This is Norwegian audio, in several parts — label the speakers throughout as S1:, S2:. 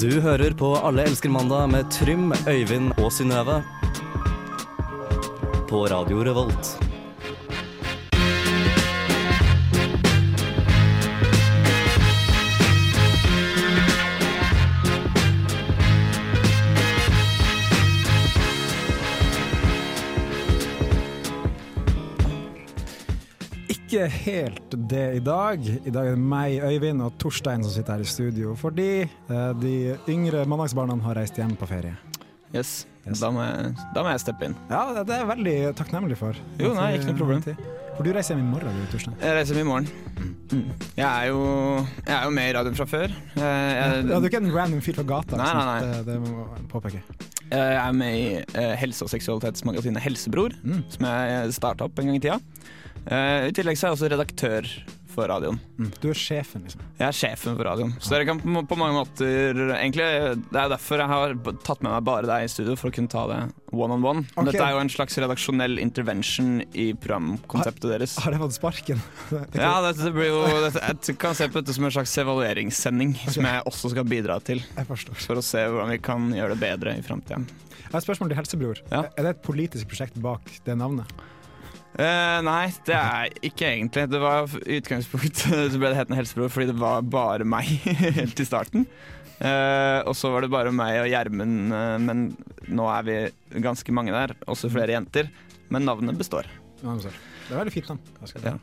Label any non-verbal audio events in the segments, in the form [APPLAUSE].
S1: Du hører på Alle elsker mandag med Trym, Øyvind og Synnøve. På Radio Revolt.
S2: Ikke helt det i dag. I dag er det meg, Øyvind og Torstein som sitter her i studio, fordi eh, de yngre mandagsbarna har reist hjem på ferie.
S3: Yes.
S2: Yes.
S3: Da, må jeg, da må jeg steppe inn.
S2: Ja, det- det er jeg veldig takknemlig for.
S3: Jo, nei, ikke noe problem.
S2: For du reiser hjem i morgen, du, Torstein.
S3: Jeg reiser hjem i morgen. Mm. Jeg, er jo, jeg er jo med i radioen fra før. Eh,
S2: Ja,
S3: Jeg,
S2: du er ikke en random fyr fra gata.
S3: Nei,
S2: ikke
S3: nei,
S2: sant? Det, det må jeg påpeke.
S3: jeg er med i eh, helse- og seksualitetsmagasinet Helsebror,
S2: Mm.
S3: som jeg starta opp en gang i tida. Eh, I tillegg så er jeg også redaktør for radioen.
S2: Mm. Du er sjefen, liksom. [LAUGHS]
S3: Jeg er sjefen for radioen. Så dere kan på, på mange måter Egentlig, Det er jo derfor jeg har b- tatt med meg bare deg i studio, for å kunne ta det one on one.
S2: Ok.
S3: Dette er jo en slags redaksjonell intervention i programkonseptet deres.
S2: Har jeg fått sparken? [LAUGHS] Det er
S3: Ja, dette blir jo dette, Jeg kan se på dette som en slags evalueringssending, som jeg også skal bidra til.
S2: ikke- Jeg forstår.
S3: For å se hvordan vi kan gjøre det bedre i framtida.
S2: Jeg har et spørsmål til helsebror.
S3: Ja.
S2: Er det et politisk prosjekt bak det navnet?
S3: Eh, nei, det er ikke egentlig. Det var I utgangspunktet [LAUGHS] så ble det hetende helsebror fordi det var bare meg [LAUGHS] helt i starten. Eh, og så var det bare meg og Gjermund, eh, men nå er vi ganske mange der. Også flere jenter. Men navnet består.
S2: Ja, men så- Det er veldig fint navn. Jeg skal-
S3: Ja.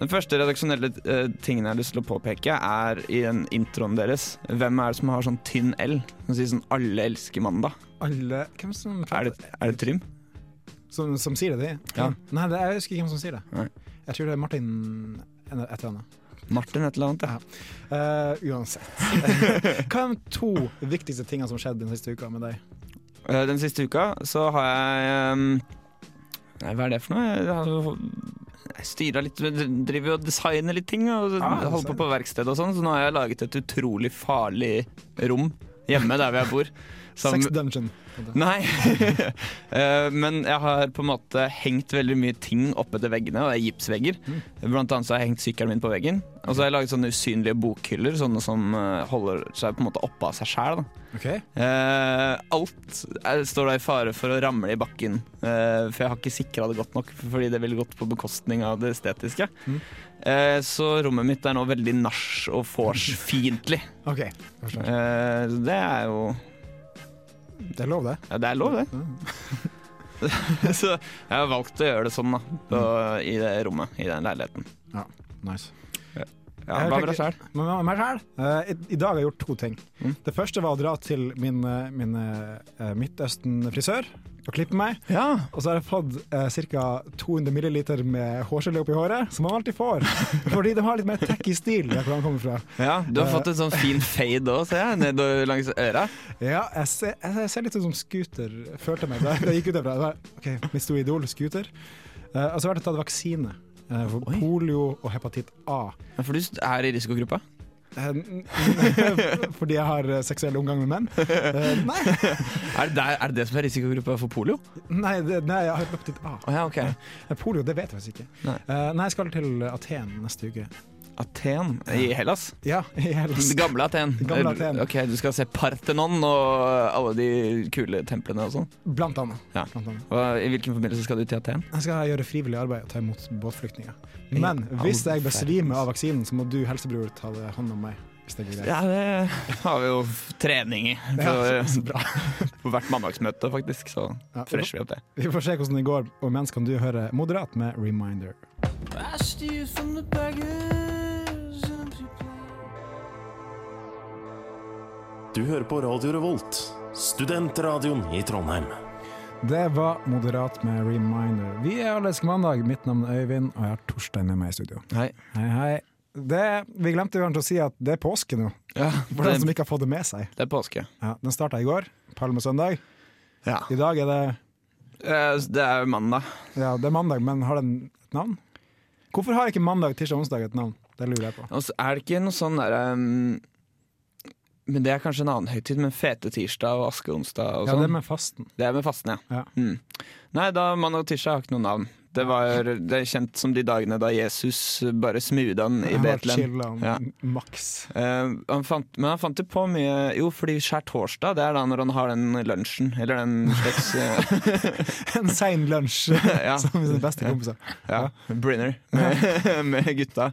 S3: Den første redaksjonelle eh, tingen jeg har lyst til å påpeke, er i den introen deres. Hvem er det som har sånn tynn L? Som sier sånn 'Alle elsker mandag'.
S2: Alle Hvem som
S3: Er det, er det Trym?
S2: Som, som sier det, de?
S3: Ja.
S2: Nei, det, jeg husker ikke hvem som sier det.
S3: Nei.
S2: Jeg tror det er Martin en- et eller annet.
S3: Martin et eller annet, ja.
S2: Eh,
S3: [LAUGHS]
S2: uansett. Hva er de to viktigste tingene som skjedde den siste uka med deg?
S3: Eh, Den siste uka så har jeg ehm, Nei, hva er det for noe? Jeg, har- jeg styrer litt, driver og designer litt ting. Og
S2: Ah,
S3: holder på på verksted og sånn, så nå har jeg laget et utrolig farlig rom hjemme der hvor jeg bor. Sammen-
S2: Sex dungeon.
S3: Nei. [LAUGHS] Eh, Men jeg har på en måte hengt veldig mye ting oppetter veggene, og det er gipsvegger. Blant annet så har jeg hengt sykkelen min på veggen. Og så har jeg laget sånne usynlige bokhyller, sånne som eh, holder seg på en måte oppe av seg sjæl.
S2: Ok.
S3: alt er- står da i fare for å ramle i bakken, eh, for jeg har ikke sikra det godt nok, fordi det ville gått på bekostning av det estetiske.
S2: Mm.
S3: Eh, så rommet mitt er nå veldig nach- og vors-fiendtlig.
S2: Ok, jeg forstår.
S3: Eh, det er jo
S2: Det er lov, det.
S3: ja, Det er lov, det.
S2: Mm.
S3: [LAUGHS] Så jeg har valgt å gjøre det sånn, da. På, I det rommet, i den leiligheten.
S2: Nice.
S3: Ja,
S2: Jeg
S3: hva
S2: tenker-
S3: med deg selv?
S2: Men med meg selv, eh, i, i dag har jeg gjort to ting.
S3: Mm.
S2: Det første var å dra til min, eh, min eh, Midtøsten-frisør og klippe meg.
S3: Ja.
S2: Og så har jeg fått eh, ca. 200 ml med hårgelé oppi håret, som man alltid
S3: [LAUGHS]
S2: får. Fordi de har litt mer tacky stil der hvor han kommer fra.
S3: Du har fått en sånn fin fade òg, ser jeg, nedover langs øra.
S2: Ja, jeg ser, jeg ser litt ut som Scooter, følte jeg meg da da jeg gikk ut derfra. Det var, Ok, mitt store idol, Scooter. Eh, og så har jeg tatt vaksine eh, for
S3: Oi.
S2: polio og hepatitt A.
S3: Ja, For du er i risikogruppa?
S2: Eh, n- [LAUGHS] n- fordi jeg har eh, seksuell omgang med menn. Eh, nei,
S3: Er det, der, er det det som er risikogruppa for polio?
S2: nei, det, nei, jeg har hepatitt A.
S3: Å ja, ok.
S2: Eh, Polio, det vet jeg faktisk ikke.
S3: Nei.
S2: Eh, nei, jeg skal til Aten neste uke.
S3: Aten i Hellas?
S2: Ja, i Hellas.
S3: Det gamle Aten.
S2: Det gamle Aten.
S3: Ok, Du skal se Parthenon og alle de kule templene og sånn.
S2: Blant annet.
S3: Ja.
S2: Blant annet.
S3: Og I hvilken forbindelse skal du til Aten?
S2: Jeg skal gjøre frivillig arbeid og ta imot båtflyktninger.
S3: Ja,
S2: Men hvis
S3: all
S2: jeg besvimer av
S3: verdens.
S2: vaksinen, så må du, helsebror, ta det hånd om meg. Hvis det blir greit.
S3: Ja, det har vi jo trening i.
S2: Ja, så- så
S3: bra. [LAUGHS] På hvert mandagsmøte, faktisk. Så
S2: Ja, vi,
S3: fresher vi opp det.
S2: får- vi får se hvordan det går, og mens kan du høre Moderat med 'Reminder'.
S4: Du hører på Radio Revolt, studentradioen i Trondheim.
S2: Det var Moderat med 'Reminder'. Vi er Allerske mandag. Mitt navn er Øyvind, og jeg har Torstein med meg i studio.
S3: Hei.
S2: Hei, hei. Det, vi glemte kanskje å si at det er påske nå,
S3: Ja,
S2: for den som
S3: det,
S2: ikke har fått det med seg.
S3: det er påske.
S2: Ja, den starta i går, palmesøndag.
S3: Ja.
S2: I dag er det,
S3: Eh, Det er jo mandag.
S2: ja, det er mandag, men har den et navn? Hvorfor har ikke mandag, tirsdag og onsdag et navn? Det lurer jeg på.
S3: Og så er det ikke noe sånn derre um, Men det er kanskje en annen høytid, men fete tirsdag og askeonsdag og
S2: Ja,
S3: sånn.
S2: det med fasten.
S3: det er med fasten, ja.
S2: Ja.
S3: Mm. Nei, da mandag og tirsdag har ikke noe navn. Det var det er kjent som de dagene da Jesus bare smootha den i
S2: Jeg har
S3: Betlehem.
S2: chillet om
S3: Ja.
S2: maks. [LAUGHS]
S3: Eh, han fant, men han fant jo på mye Jo, fordi skjærtorsdag, det er da når han har den lunsjen, eller den slags eh, [LAUGHS]
S2: En sein lunsj
S3: ja,
S2: som sine beste kompiser.
S3: ja, Brinner med, [LAUGHS] med gutta.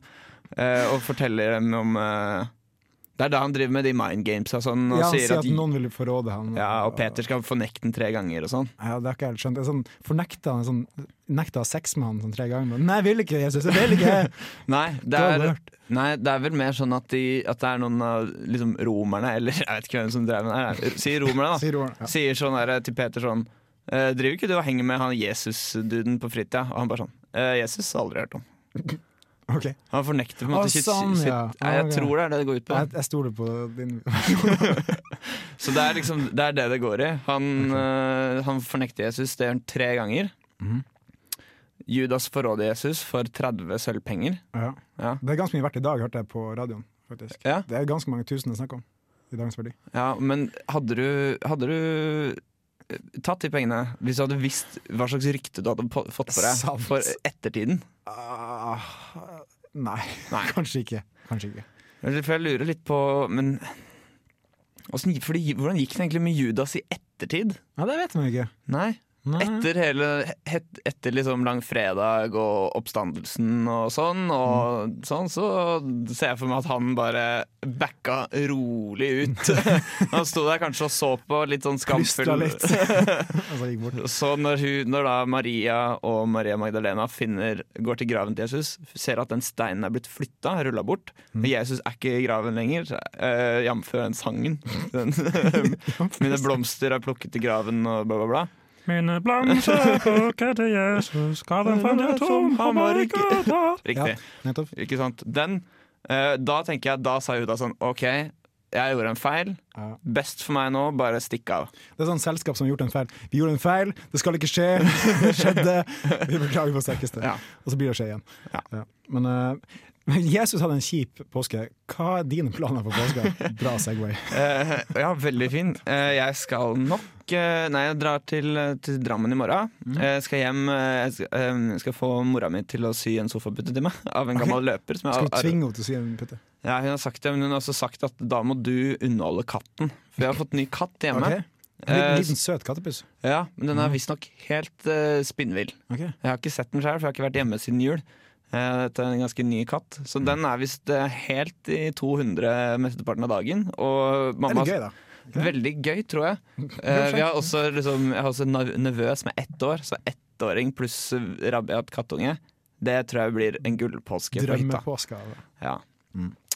S3: eh, og forteller dem om eh, Det er da han driver med de mind games og sånn. Og
S2: Ja, han
S3: sier at,
S2: noen vil forråde han.
S3: ja, og Peter skal fornekte den tre ganger og sånn.
S2: Ja, det har ikke jeg helt skjønt. Det er sånn, fornekta han sånn, nekta å ha sex med han sånn tre ganger. Nei, jeg vil ikke, Jesus, jeg vil ikke!
S3: [LAUGHS] Nei det,
S2: Da
S3: er,
S2: har
S3: nei, det er vel mer sånn at, de, at det er noen av liksom, romerne, eller jeg vet ikke hvem som drev med det her, sier
S2: [LAUGHS]
S3: romerne, da.
S2: Sier Roar. Ja.
S3: Sier sånn der til Peter sånn «Eh, Driver ikke du og henger med han Jesus-duden på fritida? Og han bare sånn «Eh, Jesus har aldri hørt om.
S2: Ok.
S3: Han fornekter på
S2: Å,
S3: en måte sitt,
S2: sånn,
S3: sitt
S2: ja.
S3: Nei, Jeg
S2: Ok.
S3: tror det er det det går ut på.
S2: Jeg, jeg stoler på din [LAUGHS]
S3: Så det er liksom det er det det går i. Han, eh, han fornekter Jesus, det gjør han tre ganger.
S2: Mhm.
S3: Judas forråder Jesus for 30 sølvpenger.
S2: ja.
S3: Ja.
S2: Det er ganske mye verdt i dag, hørte jeg på radioen. faktisk.
S3: Ja.
S2: Det er ganske mange tusen det er snakk om i dagens verdi.
S3: Ja, men hadde du, hadde du eh, tatt de pengene hvis du hadde visst hva slags rykte du hadde på, fått på deg
S2: [LAUGHS] Sant.
S3: for ettertiden?
S2: Ah, nei.
S3: Nei.
S2: [LAUGHS] kanskje ikke. Kanskje ikke.
S3: For jeg lurer litt på Men hvordan, fordi, hvordan gikk det egentlig med Judas i ettertid?
S2: Ja, det vet man ikke.
S3: Nei.
S2: Nei.
S3: Etter, hele, het, etter liksom langfredag og oppstandelsen og sånn,
S2: Mm.
S3: og sånn, så ser jeg for meg at han bare backa rolig
S2: [LAUGHS]
S3: ut. han sto der kanskje og så på litt sånn skamfull
S2: Plystra
S3: [LAUGHS]
S2: litt. [LAUGHS] altså, gikk bort.
S3: Så når, hun, når da Maria og Maria Magdalena finner, går til graven til Jesus, ser at den steinen er blitt flytta, rulla bort,
S5: Mm.
S3: og Jesus er ikke i graven lenger, uh, jf. den sangen.
S5: [LAUGHS]
S3: Den, [LAUGHS] mine blomster er plukket i graven og bla, bla, bla.
S5: Mine blomster bukker til Jesus,
S3: [LAUGHS]
S5: gaven fant jeg tom, han var ikke der.
S3: Riktig.
S2: Nettopp.
S3: Ikke sant? Den, eh, da tenker jeg, da sa Juda sånn OK, jeg gjorde en feil.
S2: Ja.
S3: Best for meg nå, bare stikk av.
S2: Det er sånn selskap som har gjort en feil. Vi gjorde en feil, det skal ikke skje. Det skjedde. Vi beklager på sterkeste.
S3: Ja.
S2: Og så blir det skje igjen.
S3: Ja.
S2: Men eh, Jesus hadde en kjip påske. Hva er dine planer for påska? Bra Segway.
S3: Eh, ja, veldig fin. Eh, jeg skal nok eh, Nei, jeg drar til, eh, til Drammen i morgen.
S2: Mm.
S3: Jeg skal hjem. eh, jeg skal, eh, jeg skal få mora mi til å sy en sofapute til meg [LAUGHS] av en gammel løper. Som jeg,
S2: Skal du tvinge henne til å si en putte?
S3: Ja, hun har sagt det, men hun har også sagt at da må du underholde katten. For jeg har fått ny katt hjemme.
S2: Ok. Mm. En
S3: Eh,
S2: liten, liten søt kattepus.
S3: Ja, Men den er visstnok helt eh, spinnvill.
S2: Ok.
S3: Jeg har ikke sett den sjøl, for jeg har ikke vært hjemme siden jul. Eh, Dette er en ganske ny katt,
S2: Mm.
S3: så den er visst eh, helt i 200 mesteparten av dagen. Og mamma,
S2: Veldig gøy, da.
S3: Veldig gøy, tror [LAUGHS] jeg. Eh, vi har også, liksom, jeg har også en nav- nevø som er ett år, så ettåring pluss eh, rabiat kattunge. Det tror jeg blir en gullpåske på hytta.
S2: Drømmepåska. da.
S3: Ja.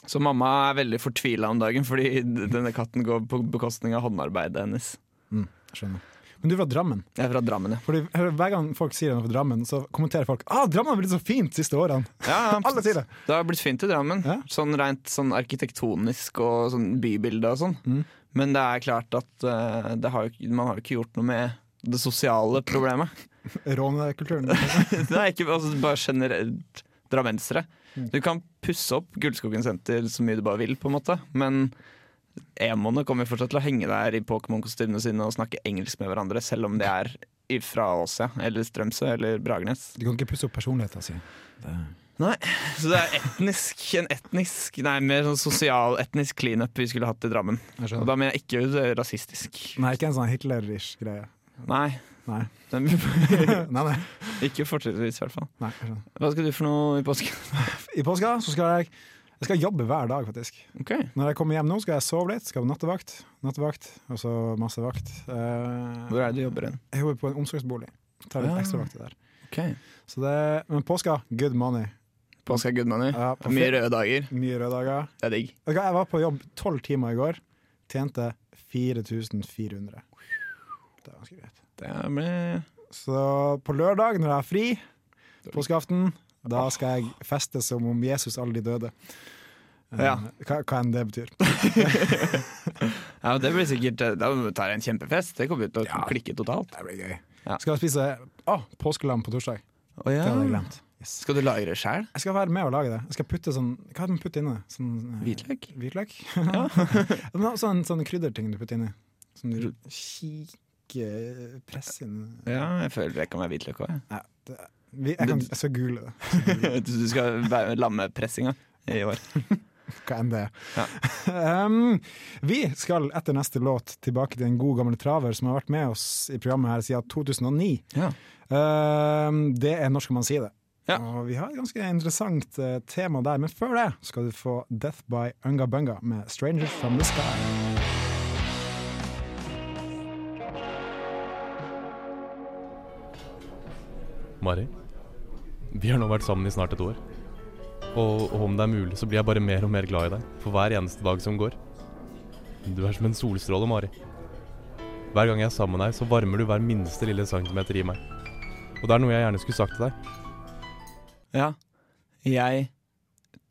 S3: Så mamma er veldig fortvila om dagen fordi d- denne katten går på bekostning av håndarbeidet hennes.
S2: Mm, jeg skjønner. Men du er fra Drammen.
S3: Jeg er fra Drammen, ja.
S2: Fordi Hver gang folk sier de er fra Drammen, så kommenterer folk ah, Drammen har blitt så fint de siste årene.
S3: ja
S2: Alle sier det.
S3: Det har blitt fint i Drammen.
S2: Ja.
S3: Sånn rent sånn arkitektonisk og sånn bybilde og sånn. Men det er klart at eh, det har jo, ikke- man har jo ikke gjort noe med det sosiale problemet.
S2: Rånekulturen.
S3: [LAUGHS] det er ikke altså, bare generelt drammensere. Du kan pusse opp Gullskogen senter så mye du bare vil, på en måte, men emoene kommer fortsatt til å henge der i Pokémon-kostymene sine og snakke engelsk med hverandre, selv om de er fra Åsia eller Strømsø eller Bragernes.
S2: Du kan ikke pusse opp personligheten sin.
S3: Nei, [LAUGHS] så det er etnisk, en etnisk Nei, mer sånn sosial-etnisk cleanup vi skulle hatt i Drammen.
S2: Jeg
S3: Og
S2: skjønner.
S3: da mener jeg ikke det rasistisk.
S2: Nei, ikke en sånn Hitler-ish greie.
S3: Nei.
S2: Nei.
S3: Den,
S2: [LAUGHS] nei, nei.
S3: [LAUGHS] ikke fortrinnsvis, i hvert fall.
S2: nei jeg skjønner.
S3: Hva skal du for noe i påsken?
S2: I påska så skal jeg Jeg skal jobbe hver dag, faktisk.
S3: Ok,
S2: Når jeg kommer hjem nå, skal jeg sove litt. Skal på nattevakt, nattevakt og så masse vakt. Eh,
S3: Hvor er det du jobber hen?
S2: jeg jobber på en omsorgsbolig. Tar litt
S3: Ja.
S2: ekstravakter der.
S3: Ok.
S2: Så det, men påska, good money.
S3: Påske er good money.
S2: Ja, på
S3: Mye
S2: fe-
S3: røde dager.
S2: mye røde dager.
S3: Det er digg.
S2: Vet du hva, Jeg var på jobb tolv timer i går. Tjente 4400. Det er ganske greit.
S3: Det blir
S2: Så på lørdag, når jeg har fri, påskeaften, da skal jeg feste som om Jesus aldri døde. Eh,
S3: Ja.
S2: Hva, hva enn det betyr.
S3: Ja, men det blir sikkert eh, Da tar jeg en kjempefest. Det kommer jo til å
S2: Ja.
S3: klikke totalt.
S2: Det blir gøy.
S3: Ja.
S2: Skal jeg spise å, påskelam på torsdag? Det hadde jeg glemt. Yes.
S3: Skal du lagre sjæl?
S2: Jeg skal være med og lage det. Jeg skal putte sånn, Hva er det man putter inni? Sånn, eh,
S3: Hvitløk?
S2: Hvitløk? [LAUGHS] Men også en sånn krydderting du putter inni. Som du kiker press inn
S3: Ja, jeg føler det kan være hvitløk òg.
S2: ja, det, Vi, jeg, kan, jeg skal google det,
S3: [LAUGHS] Du skal være lammepressinga i år.
S2: hva enn det er. [LAUGHS] Um, vi skal etter neste låt tilbake til en god gammel traver som har vært med oss i programmet her siden 2009.
S3: Ja.
S2: Um, det er Når skal man si det?
S3: Ja.
S2: Og vi har et ganske interessant eh, tema der, men før det skal du få Death by Unga Bunga med 'Strangers From The Sky'.
S6: Mari, vi har nå vært sammen i snart et år. Og, og om det er mulig, så blir jeg bare mer og mer glad i deg for hver eneste dag som går. Du er som en solstråle, Mari. Hver gang jeg er sammen med deg, så varmer du hver minste lille centimeter i meg. Og det er noe jeg gjerne skulle sagt til deg.
S3: ja. Jeg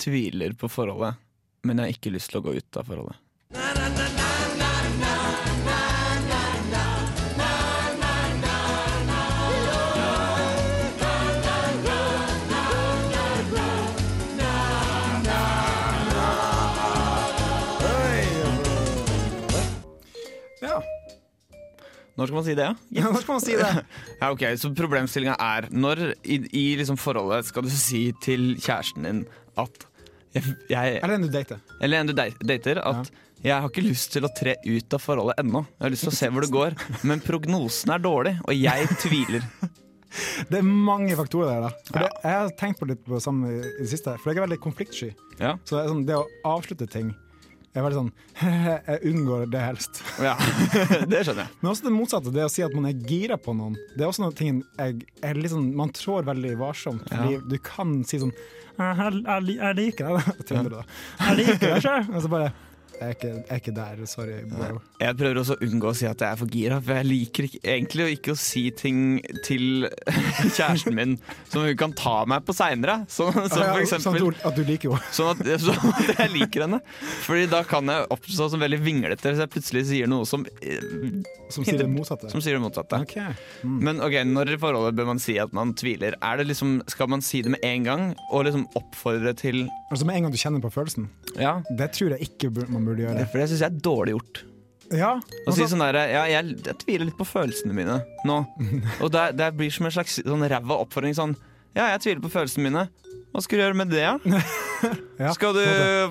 S3: tviler på forholdet, men jeg har ikke lyst til å gå ut av forholdet.
S2: Ja, [LAUGHS]
S3: Når skal man si det, ja?
S2: når skal man si det?
S3: Ja, ok, Så problemstillinga er når i, i liksom forholdet skal du si til kjæresten din at jeg, jeg,
S2: Eller den du dater.
S3: Eller en du dei- dater at jeg har ikke lyst til å tre ut av forholdet ennå. Jeg har lyst til å se hvor det går, men prognosen er dårlig, og jeg tviler.
S2: Det er mange faktorer der. da. For det, jeg har tenkt på litt på det samme i det siste, for jeg er veldig konfliktsky.
S3: Ja.
S2: Så det, er sånn, det å avslutte ting Jeg er veldig sånn [LAUGHS] Jeg unngår det helst.
S3: [LAUGHS] ja. Det skjønner jeg.
S2: Men også det motsatte, det å si at man er gira på noen. Det er også noe ting jeg, jeg er litt sånn- Man trår veldig varsomt, fordi du kan si sånn
S5: Jeg, jeg, jeg, jeg
S2: Ikke
S5: liker
S2: det, [LAUGHS] da. Tinder, da.
S5: Jeg liker det ikke.
S3: [LAUGHS]
S2: Og så bare jeg er, ikke, jeg er ikke der, sorry. [LAUGHS] Bro.
S3: Jeg prøver også å unngå å si at jeg er for gira, for jeg liker ikke, egentlig ikke å si ting til [LAUGHS] kjæresten min som hun kan ta meg på seinere. Som,
S2: Ja,
S3: som for
S2: sånn at
S3: eksempel
S2: du- at du liker henne.
S3: Sånn at, [LAUGHS] sånn at jeg liker henne. Fordi da kan jeg oppstå som veldig vinglete hvis jeg plutselig sier noe som,
S2: [LAUGHS]
S3: eh,
S2: Som sier det motsatte.
S3: som sier det motsatte.
S2: Ok.
S3: Men ok, når i forholdet bør man si at man tviler? Er det liksom, Skal man si det med en gang og liksom oppfordre til
S2: Altså Med en gang du kjenner på følelsen.
S3: Ja,
S2: Det tror jeg ikke bur- man burde gjøre.
S3: for det syns jeg er dårlig gjort.
S2: Ja,
S3: Å si
S2: altså,
S3: sånn der, ja, jeg, jeg tviler litt på følelsene mine nå. [LAUGHS] Og det, det blir som en slags sånn ræva oppfordring sånn Ja, jeg tviler på følelsene mine. Hva skal du gjøre med [LAUGHS] det, da?
S2: ja.
S3: Skal du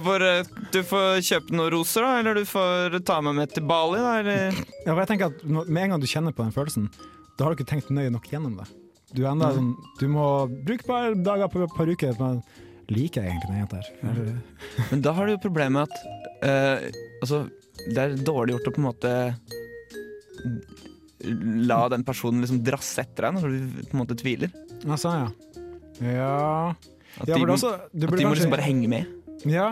S3: bare Du får kjøpe noen roser, da? Eller du får ta meg med til Bali, da? Eller
S2: Ja, for jeg tenker at når- Med en gang du kjenner på den følelsen, da har du ikke tenkt nøye nok gjennom det. Du, er enda, sånn, du må bruke et par dager på et par uker. Men liker jeg egentlig den jenta her? Eller-
S3: Men da har du jo problemet med at eh, Altså, det er dårlig gjort å på en måte La den personen liksom drasse etter deg når du på en måte tviler.
S2: Ja, sånn, ja. Ja,
S3: At,
S2: ja
S3: de,
S2: for det er også, du burde
S3: at de må
S2: kanskje-
S3: liksom bare henge med.
S2: Ja,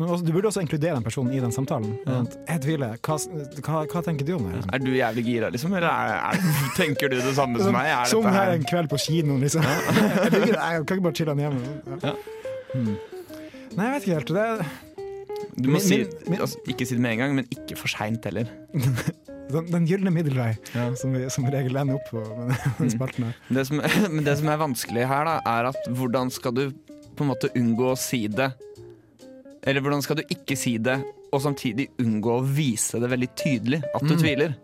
S2: men også, du burde også inkludere den personen i den samtalen.
S3: Ja.
S2: Sånn at, Jeg tviler. Hva, hva, hva tenker du om det? Liksom?
S3: Er du jævlig gira, liksom? Eller er, er, tenker du det [LAUGHS] samme som meg? Er
S2: Som
S3: dette
S2: her
S3: her
S2: en kveld på kinoen, liksom. [LAUGHS] jeg, tenker, jeg kan ikke bare chille den hjemme. Ja.
S3: Ja.
S2: Hmm. Nei, jeg vet ikke helt. Det er
S3: Du må
S2: Min-
S3: si,
S2: min- min-
S3: altså, ikke si det med en gang, men ikke for seint heller.
S2: den, den gylne middelvei som vi som regel ender opp på med
S3: Mm.
S2: den spalten her.
S3: Det som, men det som er [LAUGHS] vanskelig her, da, er at hvordan skal du på en måte unngå å si det? Eller hvordan skal du ikke si det, og samtidig unngå å vise det veldig tydelig at du
S2: Mm.
S3: tviler?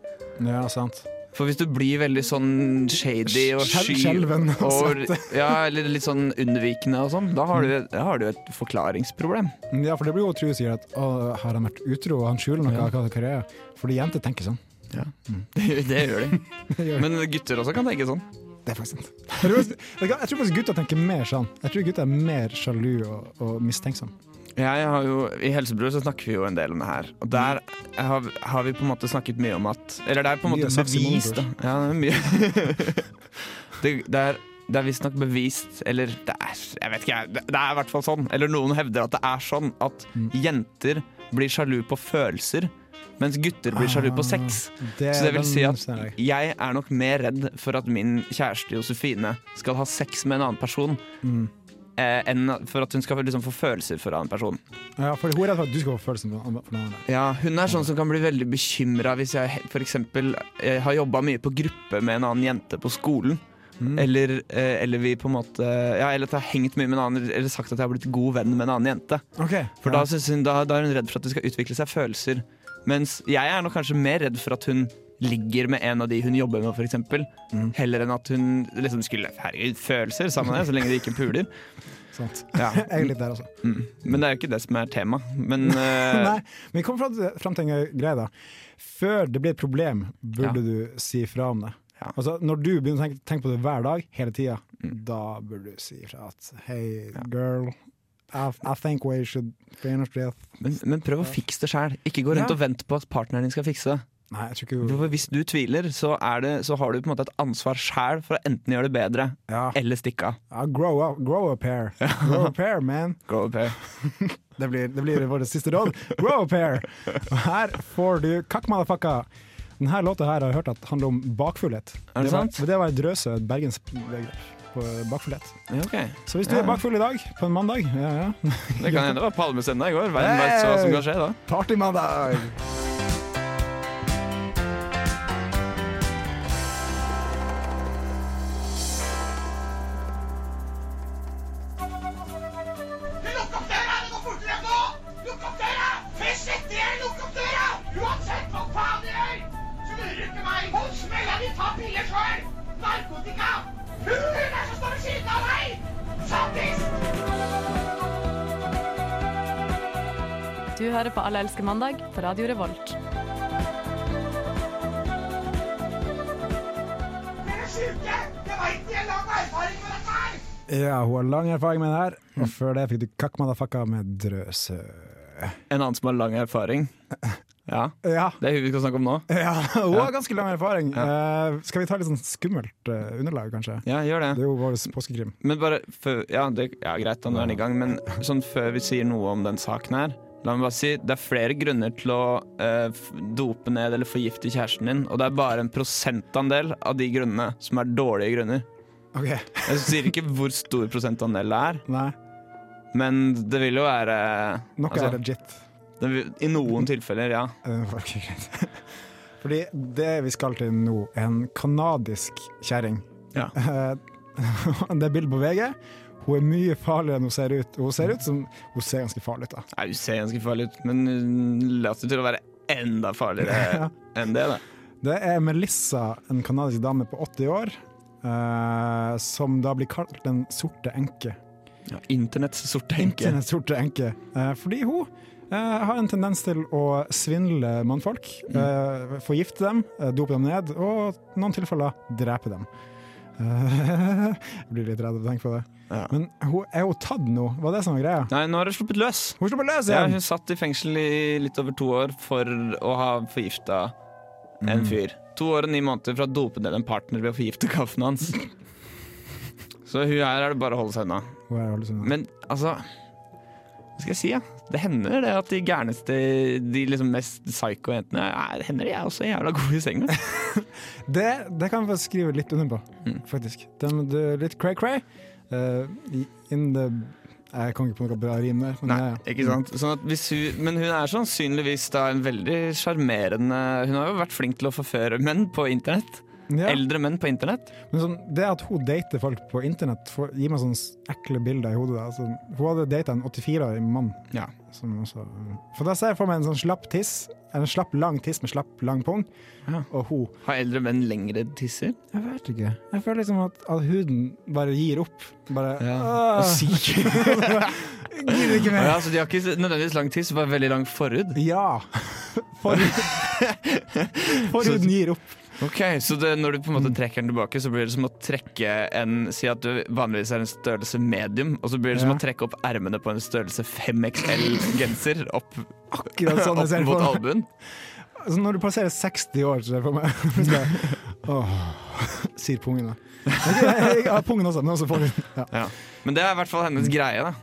S2: Ja, sant.
S3: For hvis du blir veldig sånn shady og
S2: Skjel-
S3: sky
S2: skjelven og
S3: og, [LAUGHS] ja, Eller litt sånn unnvikende og sånn, da har
S2: Mm.
S3: du, da har du et forklaringsproblem. [LAUGHS]
S2: Ja, for det blir jo tru sier at å, har han vært utro, han skjuler noe,
S3: Ja.
S2: hva, hva det er. Fordi jenter tenker sånn. [LAUGHS]
S3: Det, det gjør de.
S2: Det gjør de.
S3: Men gutter også kan tenke sånn.
S2: Det er faktisk sant. Jeg tror faktisk- Jeg tror faktisk gutta tenker mer sånn. Jeg tror gutta er mer sjalu og, og mistenksomme.
S3: Jeg har jo, I Helsebror så snakker vi jo en del om det her. Og der har, har vi på en måte snakket mye om at Eller det er på en
S2: Mye
S3: måte
S2: saks i
S3: bevist, da.
S2: munnen,
S3: Ja, det er mye. [LAUGHS] det, det er, det er visstnok bevist, eller det er Jeg vet ikke, jeg. Det, det er i hvert fall sånn. Eller noen hevder at det er sånn at jenter blir sjalu på følelser, mens gutter blir sjalu på sex.
S2: Det,
S3: Så det vil si
S2: den
S3: at
S2: ser jeg.
S3: jeg er nok mer redd for at min kjæreste Josefine skal ha sex med en annen person, eh, enn for at hun skal liksom få følelser for en annen person.
S2: Ja, for hun er redd for at du skal få følelsen for for noen andre.
S3: Ja, Hun er sånn som kan bli veldig bekymra hvis jeg he- for eksempel, eh, har jobba mye på gruppe med en annen jente på skolen.
S2: Mm.
S3: Eller, eh, eller vi på en måte Ja, eller at jeg har hengt mye med en annen Eller sagt at jeg har blitt god venn med en annen jente. For da, synes hun, da, da er hun redd for at det skal utvikle seg følelser. Mens jeg er nok kanskje mer redd for at hun ligger med en av de hun jobber med, f.eks.
S2: Mm.
S3: Heller enn at hun liksom skulle Herregud, følelser sammen med deg, så lenge de ikke
S2: [LAUGHS]
S3: puler.
S2: Sant.
S3: Ja.
S2: Jeg er litt der, altså.
S3: Mm. Men det er jo ikke det som er tema.
S2: [LAUGHS]
S3: Men eh,
S2: Nei, men vi kom fram til, fram til en greie da. Før det blir et problem, burde du si fra om det.
S3: Ja. Mm.
S2: Altså, når du begynner å tenke, tenke på det hver dag, hele tida, da burde du si fra at Hei, girl, I, I think we should finish this.
S3: men, men prøv å fikse det sjæl. Ikke gå rundt
S2: Ja.
S3: og vent på at partneren din skal fikse det.
S2: Nei, jeg tror ikke
S3: For Hvis du tviler, så, er det, så har du på en måte et ansvar sjæl for å enten gjøre det bedre
S2: ja.
S3: eller stikke av.
S2: ja, grow, up, grow up here. Grow up here, man.
S3: Go up here.
S2: Det blir, det blir vårt siste råd. Grow up here! Og her får du Kakk Motherfucka. Denne låta her har jeg hørt at handler om bakfullhet.
S3: Er det
S2: var,
S3: sant?
S2: Det var et drøse bergensbegrep på bakfullhet.
S3: Ja, ok.
S2: Så hvis du
S3: Ja.
S2: er bakfull i dag, på en mandag ja, ja.
S3: Det kan hende det var palmesøndag i går. Verden vet hva som kan skje da.
S2: Partymandag!
S7: Lukk opp døra! Det går fortere enn nå! Lukk opp døra! Fes etter dere! Lukk opp døra! Uansett hva faen dere gjør, så lurer du ikke meg. Hold smella di! Ta piller sjøl! Narkotika! Hulen er som står ved siden av meg! Sattis!
S8: Du hører på Alle elsker mandag på Radio Revolt.
S7: Dere er sjuke! Jeg veit de har lang erfaring med dette her!
S2: Ja, hun har lang erfaring med det her. Og før det fikk du Kakk Motherfucka med drøse.
S3: En annen som har lang erfaring. Ja,
S2: Ja,
S3: Det er hun vi skal snakke om nå.
S2: ja hun har ganske lang erfaring. Eh, skal vi ta litt sånn skummelt eh, underlag, kanskje?
S3: Ja, gjør
S2: Det
S3: det.
S2: er jo vår påskekrim.
S3: Men bare før, ja, det, ja, greit, da nå er den i gang. Men sånn før vi sier noe om den saken her La meg bare si, Det er flere grunner til å eh, f- dope ned eller forgifte kjæresten din, og det er bare en prosentandel av de grunnene som er dårlige grunner.
S2: OK.
S3: Jeg sier ikke hvor stor prosentandel det er,
S2: Nei,
S3: men det vil jo være
S2: noe
S3: altså,
S2: er legit.
S3: det vil, I noen tilfeller, ja.
S2: Eh, ok, [LAUGHS] greit. Fordi det vi skal til nå, er en kanadisk kjerring.
S3: Ja.
S2: Eh, [LAUGHS] det er bilde på VG. Hun er mye farligere enn hun ser ut. Hun ser ut som Hun ser ganske farlig ut, da.
S3: Nei, Hun ser ganske farlig ut, men mm, hun later til å være enda farligere
S2: [LAUGHS] Ja.
S3: enn det. da
S2: Det er Melissa, en kanadisk dame på 80 år, eh, som da blir kalt Den sorte enke.
S3: Ja, Internetts sorte enke.
S2: Internetts sorte enke. Eh, fordi hun eh, har en tendens til å svindle mannfolk,
S3: Mm.
S2: eh, forgifte dem, eh, dope dem ned, og i noen tilfeller drepe dem. Eh, [LAUGHS] jeg blir litt redd av å tenke på det.
S3: Ja.
S2: Men hun, er hun tatt nå? Var det som var greia?
S3: Nei, nå har hun sluppet løs.
S2: Hun slipper løs
S3: Ja,
S2: igjen!
S3: hun satt i fengsel i litt over to år for å ha forgifta en fyr. To år og ni måneder for å dope ned en partner ved å forgifte kaffen [LAUGHS] hans. Så hun her er det bare å holde seg unna.
S2: Hun er jo liksom-
S3: Men altså Hva skal jeg si? Ja? Det hender det at de gærneste, de liksom mest psycho jentene er- Det hender de er også jævla gode i senga.
S2: Det, det kan vi faktisk skrive litt under på,
S3: Mm.
S2: faktisk. Den, det er litt cray-cray. Eh, i- in the Jeg kom ikke på noe bra rim der. Men
S3: Nei,
S2: ja, ja.
S3: [LAUGHS] ikke sant? Sånn at hvis hun, men hun er sannsynligvis da en veldig sjarmerende Hun har jo vært flink til å forføre menn på internett.
S2: Mm. Ja.
S3: Eldre menn på internett.
S2: Men sånn, det at hun dater folk på internett, får- gir meg sånne s- ekle bilder i hodet. Da. Sånn, hun hadde data en 84-årig mann.
S3: Ja.
S2: Som også, eh, for da ser jeg for meg en sånn slapp tiss, en slapp lang tiss med slapp lang pung,
S3: Ja.
S2: og hun
S3: Har eldre menn lengre tisser?
S2: Jeg vet ikke. Jeg føler liksom at, at huden bare gir opp. Bare
S3: Ja.
S2: «Åh, Gidder ikke mer!
S3: Å Ah. [LAUGHS] Ja, så de har ikke nødvendigvis lang tiss, bare veldig lang forhud.
S2: Ja!
S3: [LAUGHS]
S2: Forhud. Forhuden gir opp.
S3: Ok, Så det, når du på en måte trekker den tilbake, så blir det som å trekke en Si at du vanligvis er en størrelse medium, og så blir det som
S2: Ja.
S3: å trekke opp ermene på en størrelse 5XL-genser opp,
S2: Akkurat sånn jeg
S3: [LAUGHS] opp
S2: ser
S3: mot
S2: for meg.
S3: albuen.
S2: Altså, når du passerer 60 år, så ser jeg for meg [LAUGHS] så bare, Åh, sier pungen, da. Men ikke- Jeg, jeg har pungen også, men også forhuden. Ja.
S3: Ja. Mm. Mm-hmm. Men det er i hvert fall hennes greie, da.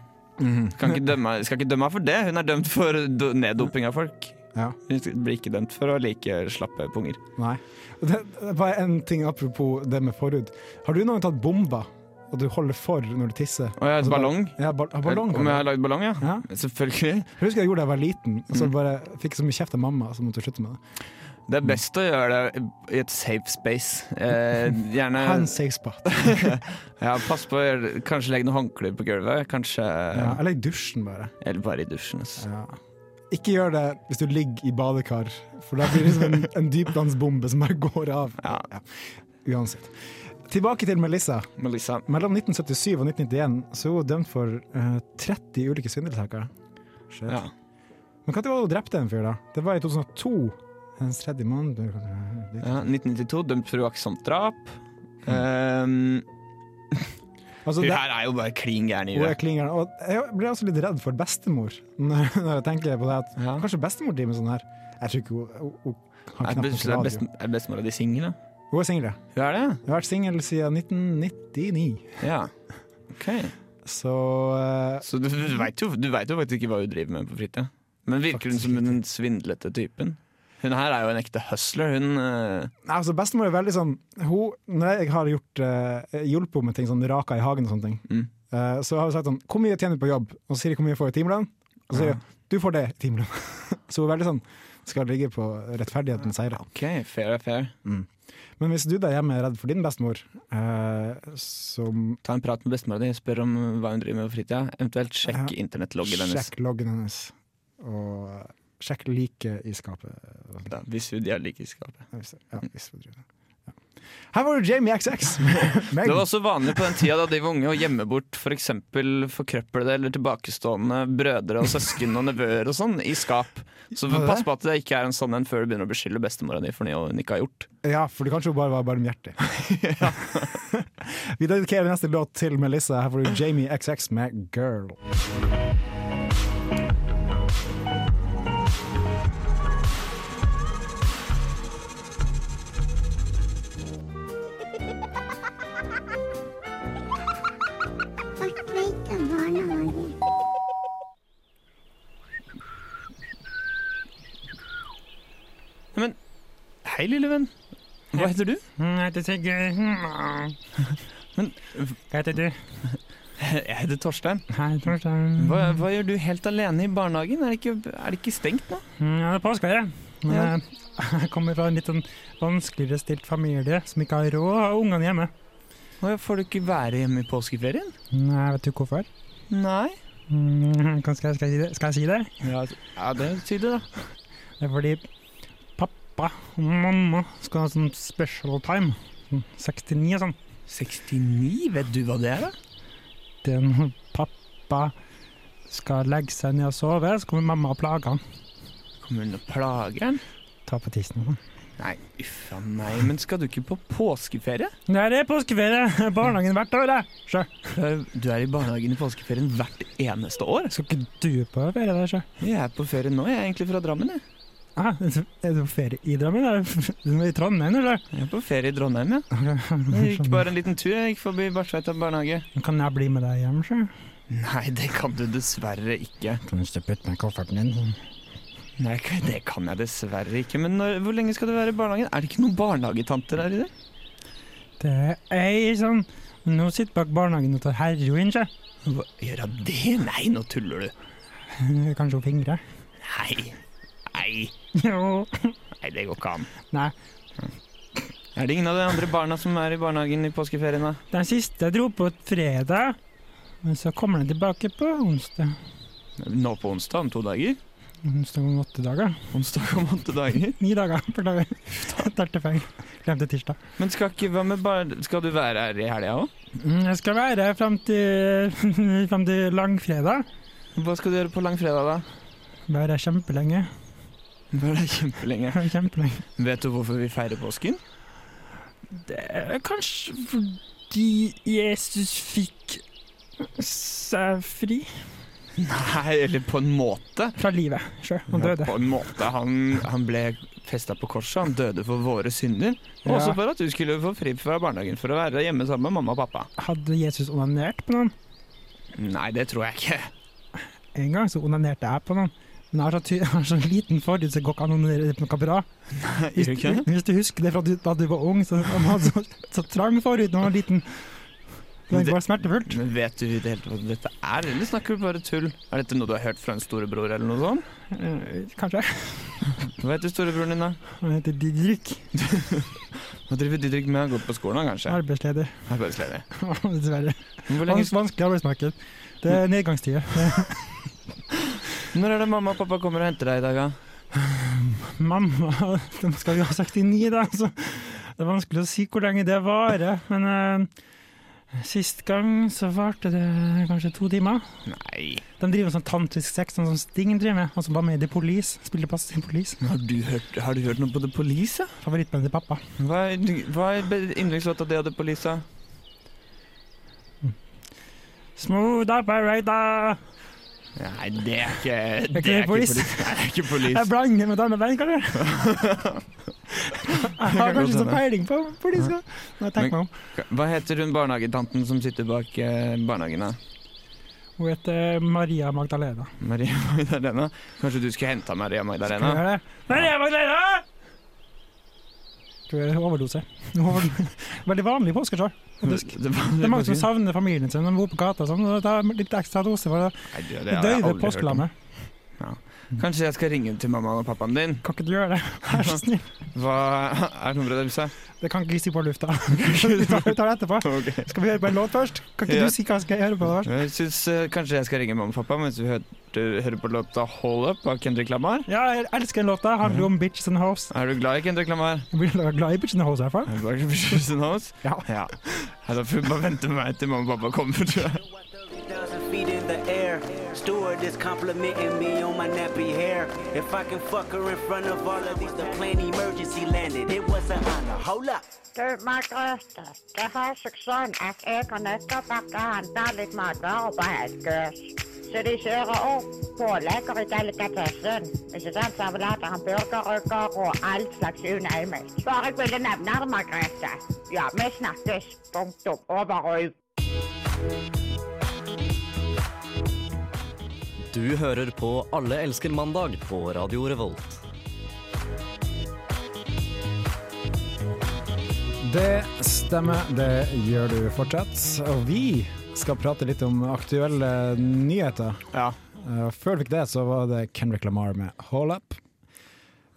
S3: Kan ikke dømme, skal ikke dømme henne for det. Hun er dømt for do- neddoping av folk.
S2: Ja.
S3: Hun blir ikke dømt for å like slappe punger.
S2: Nei. Og Det, det er bare en ting apropos det med forhud. Har du noen gang tatt bomba, og du holder for når du tisser?
S3: Og jeg har
S2: Altså,
S3: et ballong.
S2: Ja, ball, ja, ballong.
S3: Om jeg har lagd ballong, ja?
S2: Ja.
S3: Selvfølgelig.
S2: Jeg husker jeg gjorde det da jeg var liten, og
S3: Mm.
S2: så bare fikk jeg så mye kjeft av mamma, så måtte jeg slutte med det.
S3: Det er best å gjøre det i et safe space. Eh,
S2: [LAUGHS]
S3: gjerne
S2: Hand safe spot.
S3: [LAUGHS] ja, Pass på å gjøre det- Kanskje legge noen håndklær på gulvet. Kanskje
S2: Ja, eller i dusjen, bare.
S3: Eller bare i dusjen. ass.
S2: Ja. Ikke gjør det hvis du ligger i badekar, for da blir det som en, en dypvannsbombe som bare går av.
S3: Ja.
S2: Uansett. Tilbake til Melissa.
S3: Melissa.
S2: Mellom 1977 og 1991 så er hun dømt for eh, 30 ulike svindelsaker. Shit.
S3: Ja.
S2: Men når var det hun drepte en fyr, da? Det var i 2002. Hennes tredje mann
S3: Ja, 1992, dømt for uaktsomt drap. Um,
S2: altså,
S3: hun
S2: Mm. det,
S3: her er jo bare klin gæren i
S2: Hun er
S3: huet.
S2: klingeren. Og jeg blir også litt redd for bestemor, [LAUGHS] når når jeg tenker på det. At
S3: Ja.
S2: Kanskje bestemor driver med sånn her. Jeg tror ikke hun, hun, hun har
S3: Er
S2: knapt nok
S3: best- er best-
S2: radio.
S3: er bestemora di singel, da?
S2: Hun er singel, ja.
S3: Hun er det?
S2: Hun har vært singel siden 1999.
S3: Ja. Ok.
S2: Så eh,
S3: Så du, du veit jo, du vet jo faktisk ikke hva hun driver med på fritida. Men virker hun som den svindlete typen? Hun her er jo en ekte hustler. Hun eh,
S2: Nei, altså Bestemor er veldig sånn hun, Når jeg har gjort, eh, hjulpet henne med ting, sånn raka i hagen og sånne ting,
S3: Mm.
S2: eh, så har hun sagt sånn Hvor mye tjener du på jobb? Og så sier de hvor mye jeg får i timelønn. Og så sier hun du får det i timelønn. [LAUGHS] så hun er veldig sånn skal ligge på rettferdighetens seier.
S3: OK, fair er fair.
S2: Men hvis du der hjemme er redd for din bestemor, eh, som
S3: Ta en prat med bestemora di, spør om hva hun driver med på fritida. Eventuelt sjekk
S2: Ja.
S3: internettloggen hennes.
S2: Sjekk loggen hennes. Og sjekk liket i skapet.
S3: Da, hvis hun de har like i skapet.
S2: Ja, hvis- Ja, hvis vi driver det. Ja. Her var det Jamie
S3: [LAUGHS]
S2: XX! Meg.
S3: Det var også vanlig på den tida da de var unge å gjemme bort f.eks. forkrøplede eller tilbakestående brødre og søsken og nevøer og sånn i skap. Så
S2: Var det
S3: pass
S2: det?
S3: på at det ikke er en sånn en før du begynner å beskylde bestemora di for noe hun ikke har gjort.
S2: Ja, for det kanskje hun bare var
S3: [LAUGHS]
S2: barmhjertig. [LAUGHS] vi dedikerer neste låt til Melissa. Her får du Jamie XX med 'Girl'.
S5: Hm,
S3: Men hei, lille venn. Hva heter du?
S5: Jeg heter Hm, Sigurd.
S3: Men-
S5: Hva heter du?
S3: [LAUGHS] Jeg heter Torstein.
S5: Hei, Torstein.
S3: Mm. Hva, hva gjør du helt alene i barnehagen? Er det ikke, er det ikke stengt nå?
S5: Mm, Ja, det er påskeferie.
S3: Ja.
S5: Eh, Jeg kommer fra en litt sånn vanskeligere stilt familie som ikke har råd av ungene hjemme.
S3: Å, Får du ikke være hjemme i påskeferien?
S5: Nei, Hm, vet du hvorfor?
S3: Nei.
S5: Mm, kan- Skal jeg, skal, jeg si det? skal jeg si det?
S3: Ja, det sier du, da.
S5: Det er fordi pappa og mamma skal ha sånn special time. Sånn 69 og sånn.
S3: 69? Vet du hva det er, da?
S5: Det er når pappa skal legge seg ned og sove, så kommer mamma og plager han.
S3: Kommer hun og plager han?
S5: Ta på tissen og sånn.
S3: Nei, uff a meg. Men skal du ikke på påskeferie?
S5: Nei, det er påskeferie! Barnehagen hvert år, det! Sjø.
S3: Du er, du er i barnehagen i påskeferien hvert eneste år.
S5: Skal ikke du på ferie der, sjø?
S3: Jeg er på ferie nå, jeg er egentlig fra Drammen. Jeg,
S5: Ah, er du på ferie i Drammen? Er du i Trondheim, eller?
S3: jeg er på ferie i Trondheim, ja. Jeg gikk
S5: Kan
S3: bare en liten tur, jeg gikk forbi Barstveita barnehage.
S5: jeg bli med deg hjem, sjø?
S3: Nei, det kan du dessverre ikke.
S5: Kan du putte meg i kofferten din?
S3: Nei, k- det kan jeg dessverre ikke. Men når, hvor lenge skal du være i barnehagen? Er det ikke noen barnehagetanter her i det?
S5: Det er ei sånn Nå sitter bak barnehagen og tar heroin, sjø. [LAUGHS]
S3: Hva gjør hun det? Nei, nå tuller du.
S5: Kanskje hun fingrer.
S3: Nei. Nei.
S5: Jo.
S3: Nei, det går ikke an.
S5: Nei.
S3: Er det ingen av de andre barna som er i barnehagen i påskeferien, da?
S5: Den siste dro på fredag, men så kommer den tilbake på onsdag.
S3: Nå på onsdag, om to dager.
S5: Onsdag om åtte dager.
S3: Onsdag om åtte dager.
S5: Ni dager. [LAUGHS] Beklager. Talte feil. Glemte tirsdag.
S3: Men skal, ikke, hva med bar skal du være her i helga òg?
S5: Mm, Jeg skal være her fram til, [LAUGHS] frem til langfredag.
S3: Hva skal du gjøre på langfredag, da?
S5: Være her kjempelenge.
S3: Bare det er kjempelenge.
S5: kjempelenge.
S3: Vet du hvorfor vi feirer påsken?
S5: Det er kanskje fordi Jesus fikk seg fri
S3: Nei, eller på en måte.
S5: fra livet sjøl. Han
S3: Ja,
S5: døde.
S3: På en måte. Han, han ble festa på korset, han døde for våre synder. Og
S5: Ja.
S3: også for at du skulle få fri fra barnehagen for å være hjemme sammen med mamma og pappa.
S5: Hadde Jesus onanert på noen?
S3: Nei, det tror jeg ikke.
S5: En gang så onanerte jeg på noen. Men jeg har så, ty [LAUGHS] jeg har så liten forhud, så det går ikke an å onanere på noe bra. Hvis,
S3: Gjør du ikke det?
S5: hvis du husker det fra du, da du var ung, så han hadde så, så trang forhud da han var liten. Det
S3: Det-
S5: var smertefullt.
S3: Men vet du i det hele tatt hva dette er, eller snakker du bare tull? Er dette noe du har hørt fra en storebror eller noe sånt?
S5: Eh, Kanskje.
S3: Hva heter storebroren din, da?
S5: Han heter Didrik.
S3: Hva driver Didrik med? Han går på skolen, han kanskje?
S5: Arbeidsleder. [LAUGHS]
S3: Arbeidsledig.
S5: Dessverre.
S3: Men Hvor lenge
S5: Vans vanskelig arbeidsmarked. Det er nedgangstider.
S3: Når er det mamma og pappa kommer og henter deg i dag, da?
S5: [LAUGHS] Mamma, de skal jo ha sagt i ni, da, så det er vanskelig å si hvor lenge det varer. Men eh, sist gang så varte det kanskje to timer.
S3: Nei.
S5: De driver sånn tantrisk sex, sånn som Sting driver med. Han som var med i The Police. Spiller pass i Police.
S3: Har du hørt, har du hørt noe på The Police, ja?
S5: Favorittbandet til pappa.
S3: Hva er, hva er be- yndlingslåta di av The Police, da?
S5: Smooth operator!
S3: Nei, det er ikke
S5: det er ikke Police.
S3: Nei, det er ikke
S5: Jeg
S3: Police. [LAUGHS]
S5: blander med damebandet, kanskje. Jeg har kanskje sånn peiling på Police, da. Når jeg tenker meg om.
S3: Hva heter hun barnehagetanten som sitter bak eh, barnehagen, da?
S5: Hun heter eh, Maria Magdalena.
S3: Maria [LAUGHS] Magdalena? Kanskje du skulle henta Maria
S5: Skal vi
S3: Magdalena?
S5: gjøre det? Maria Magdalena! Tror jeg overdose. Overdose. Veldig vanlig på Oscarsjø.
S3: Det,
S5: Det er mange som savner familien sin. De bor på gata og sånn, og tar litt ekstra dose for å
S3: Nei, du, det har jeg
S5: døyve
S3: aldri hørt om.
S5: påskelammet.
S3: Kanskje jeg skal ringe til mammaen og pappaen din?
S5: Kan ikke du gjøre det? Vær så snill.
S3: Hva [LAUGHS] er nummeret deres? da?
S5: Det kan ikke jeg si på
S3: [LAUGHS]
S5: lufta. [LAUGHS] Vi tar vi tar det etterpå.
S3: Ok.
S5: Skal vi høre på en låt først? Kan ikke
S3: Ja.
S5: du si hva skal jeg høre på? da?
S3: Jeg syns eh, kanskje jeg skal ringe mamma og pappa mens vi hører, hører på låta 'Hold Up' av Kendrick Lamar.
S5: Ja, jeg elsker den låta. Handler jo om bitches and hoes.
S3: Er du glad i Kendrick Lamar?
S5: Mhm. Jeg blir glad i bitches and hoes, i hvert fall.
S3: Er du glad [LAUGHS] i Bitches and Hoes?
S5: Ja.
S3: ja. Nei, Da får vi bare vente med meg til mamma og pappa kommer. tror jeg.
S9: 30,000 feet in the air. Steward is complimenting me on my nappy hair. If I can fuck her in front of all of these, the plane emergency landed. It was an honor. Hold up.
S10: Du, Margrethe, det har seg sånn at jeg har nettopp vært og handlet litt matvarer på Helgøs. Så de kjører opp pålegger i delikatessen. Ikke sant? Servelater, hamburgerrygger og alt slags unøymelt. Bare jeg ville nevne det, Margrethe. Ja, vi snakkes. Punktum. Over og ut.
S1: Du hører på Alle elsker mandag på Radio Revolt.
S2: Det stemmer, det gjør du fortsatt. Og vi skal prate litt om aktuelle nyheter.
S3: Ja.
S2: Eh, Før vi fikk det, så var det Kendrick Lamar med Hold Up.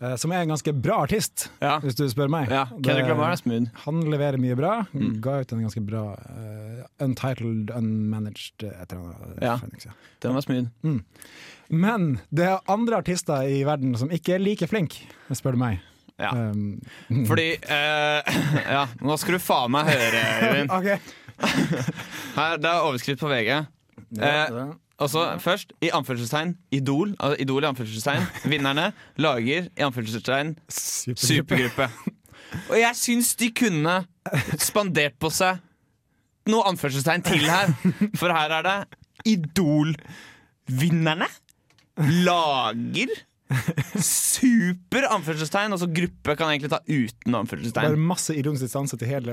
S2: eh, Som er en ganske bra artist,
S3: Ja.
S2: hvis du spør meg.
S3: ja. Kendrick Lamar er smooth.
S2: Han leverer mye bra.
S3: Mm.
S2: Ga ut en ganske bra eh, Untitled, Unmanaged eh, et eller annet.
S3: Ja.
S2: Phoenix, ja.
S3: Den var smooth.
S2: Men det er andre artister i verden som ikke er like flinke, spør du meg.
S3: Ja.
S2: Um,
S5: Mm.
S3: Fordi eh, [LAUGHS] Ja, nå skal du faen meg høre, Øyvind.
S2: OK.
S3: Her, Det er overskrift på VG. Eh, Og så først, i anførselstegn, Idol. Altså, Idol i [LAUGHS] anførselstegn. Vinnerne lager i anførselstegn supergruppe. [LAUGHS] Og jeg syns de kunne spandert på seg noe anførselstegn til her. For her er det Idol-vinnerne lager super anførselstegn. Altså gruppe kan egentlig ta uten
S2: Bare
S3: anførselstegn.
S2: masse ironisk distanse til hele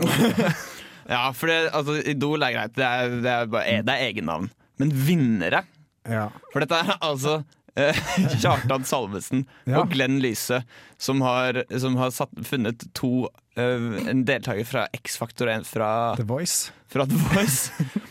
S3: Ja, for det, altså, Idol er greit, det er, det er, bare, e-, det er egennavn. Men vinnere
S5: [LAUGHS]
S2: ja.
S3: For dette er altså eh, [LAUGHS] Kjartan Salvesen
S2: Ja.
S3: og Glenn Lyse som har, som har satt, funnet to eh, En deltaker fra X-Faktor og en fra,
S2: The Voice.
S3: fra The Voice. [LAUGHS]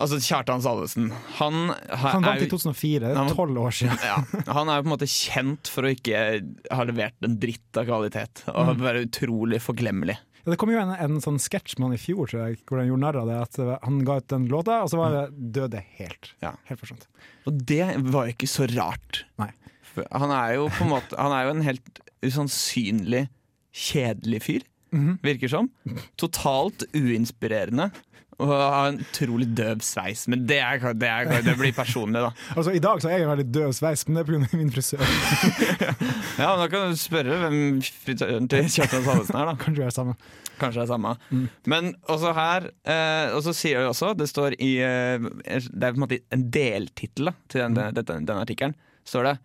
S3: altså Kjartan Salvesen. Han, ha-
S2: Han
S3: er
S2: vant
S3: jo-
S2: i 2004, det
S3: Han
S2: er
S3: var-
S2: tolv år siden.
S3: ja, han er jo på en måte kjent for å ikke ha levert en dritt av kvalitet.
S2: Mm.
S3: Og være utrolig forglemmelig.
S2: Ja, det kom jo en, en sånn sketsj med han i fjor, tror jeg, hvor han gjorde narr av det. At eh, han ga ut den låta, og så var det døde helt.
S3: Mm. Ja.
S2: Helt forsvant.
S3: Og det var jo ikke så rart.
S2: Nei.
S3: For han er jo på en måte Han er jo en helt usannsynlig kjedelig fyr, virker som. Totalt uinspirerende. Og har en utrolig døv sveis. Men det, er, det, er, det blir personlig, da.
S2: Altså, I dag så er jeg en veldig død sveis, men det er pga. min frisør.
S5: [LAUGHS]
S3: Ja, men Da kan du spørre hvem frisøren til Kjartan Salvesen er, da.
S2: Kanskje vi er sammen.
S3: Kanskje det er samme. Men også her, eh, og så sier det også, det står i eh, Det er på en måte en deltittel da, til denne, dette- denne artikkelen. står det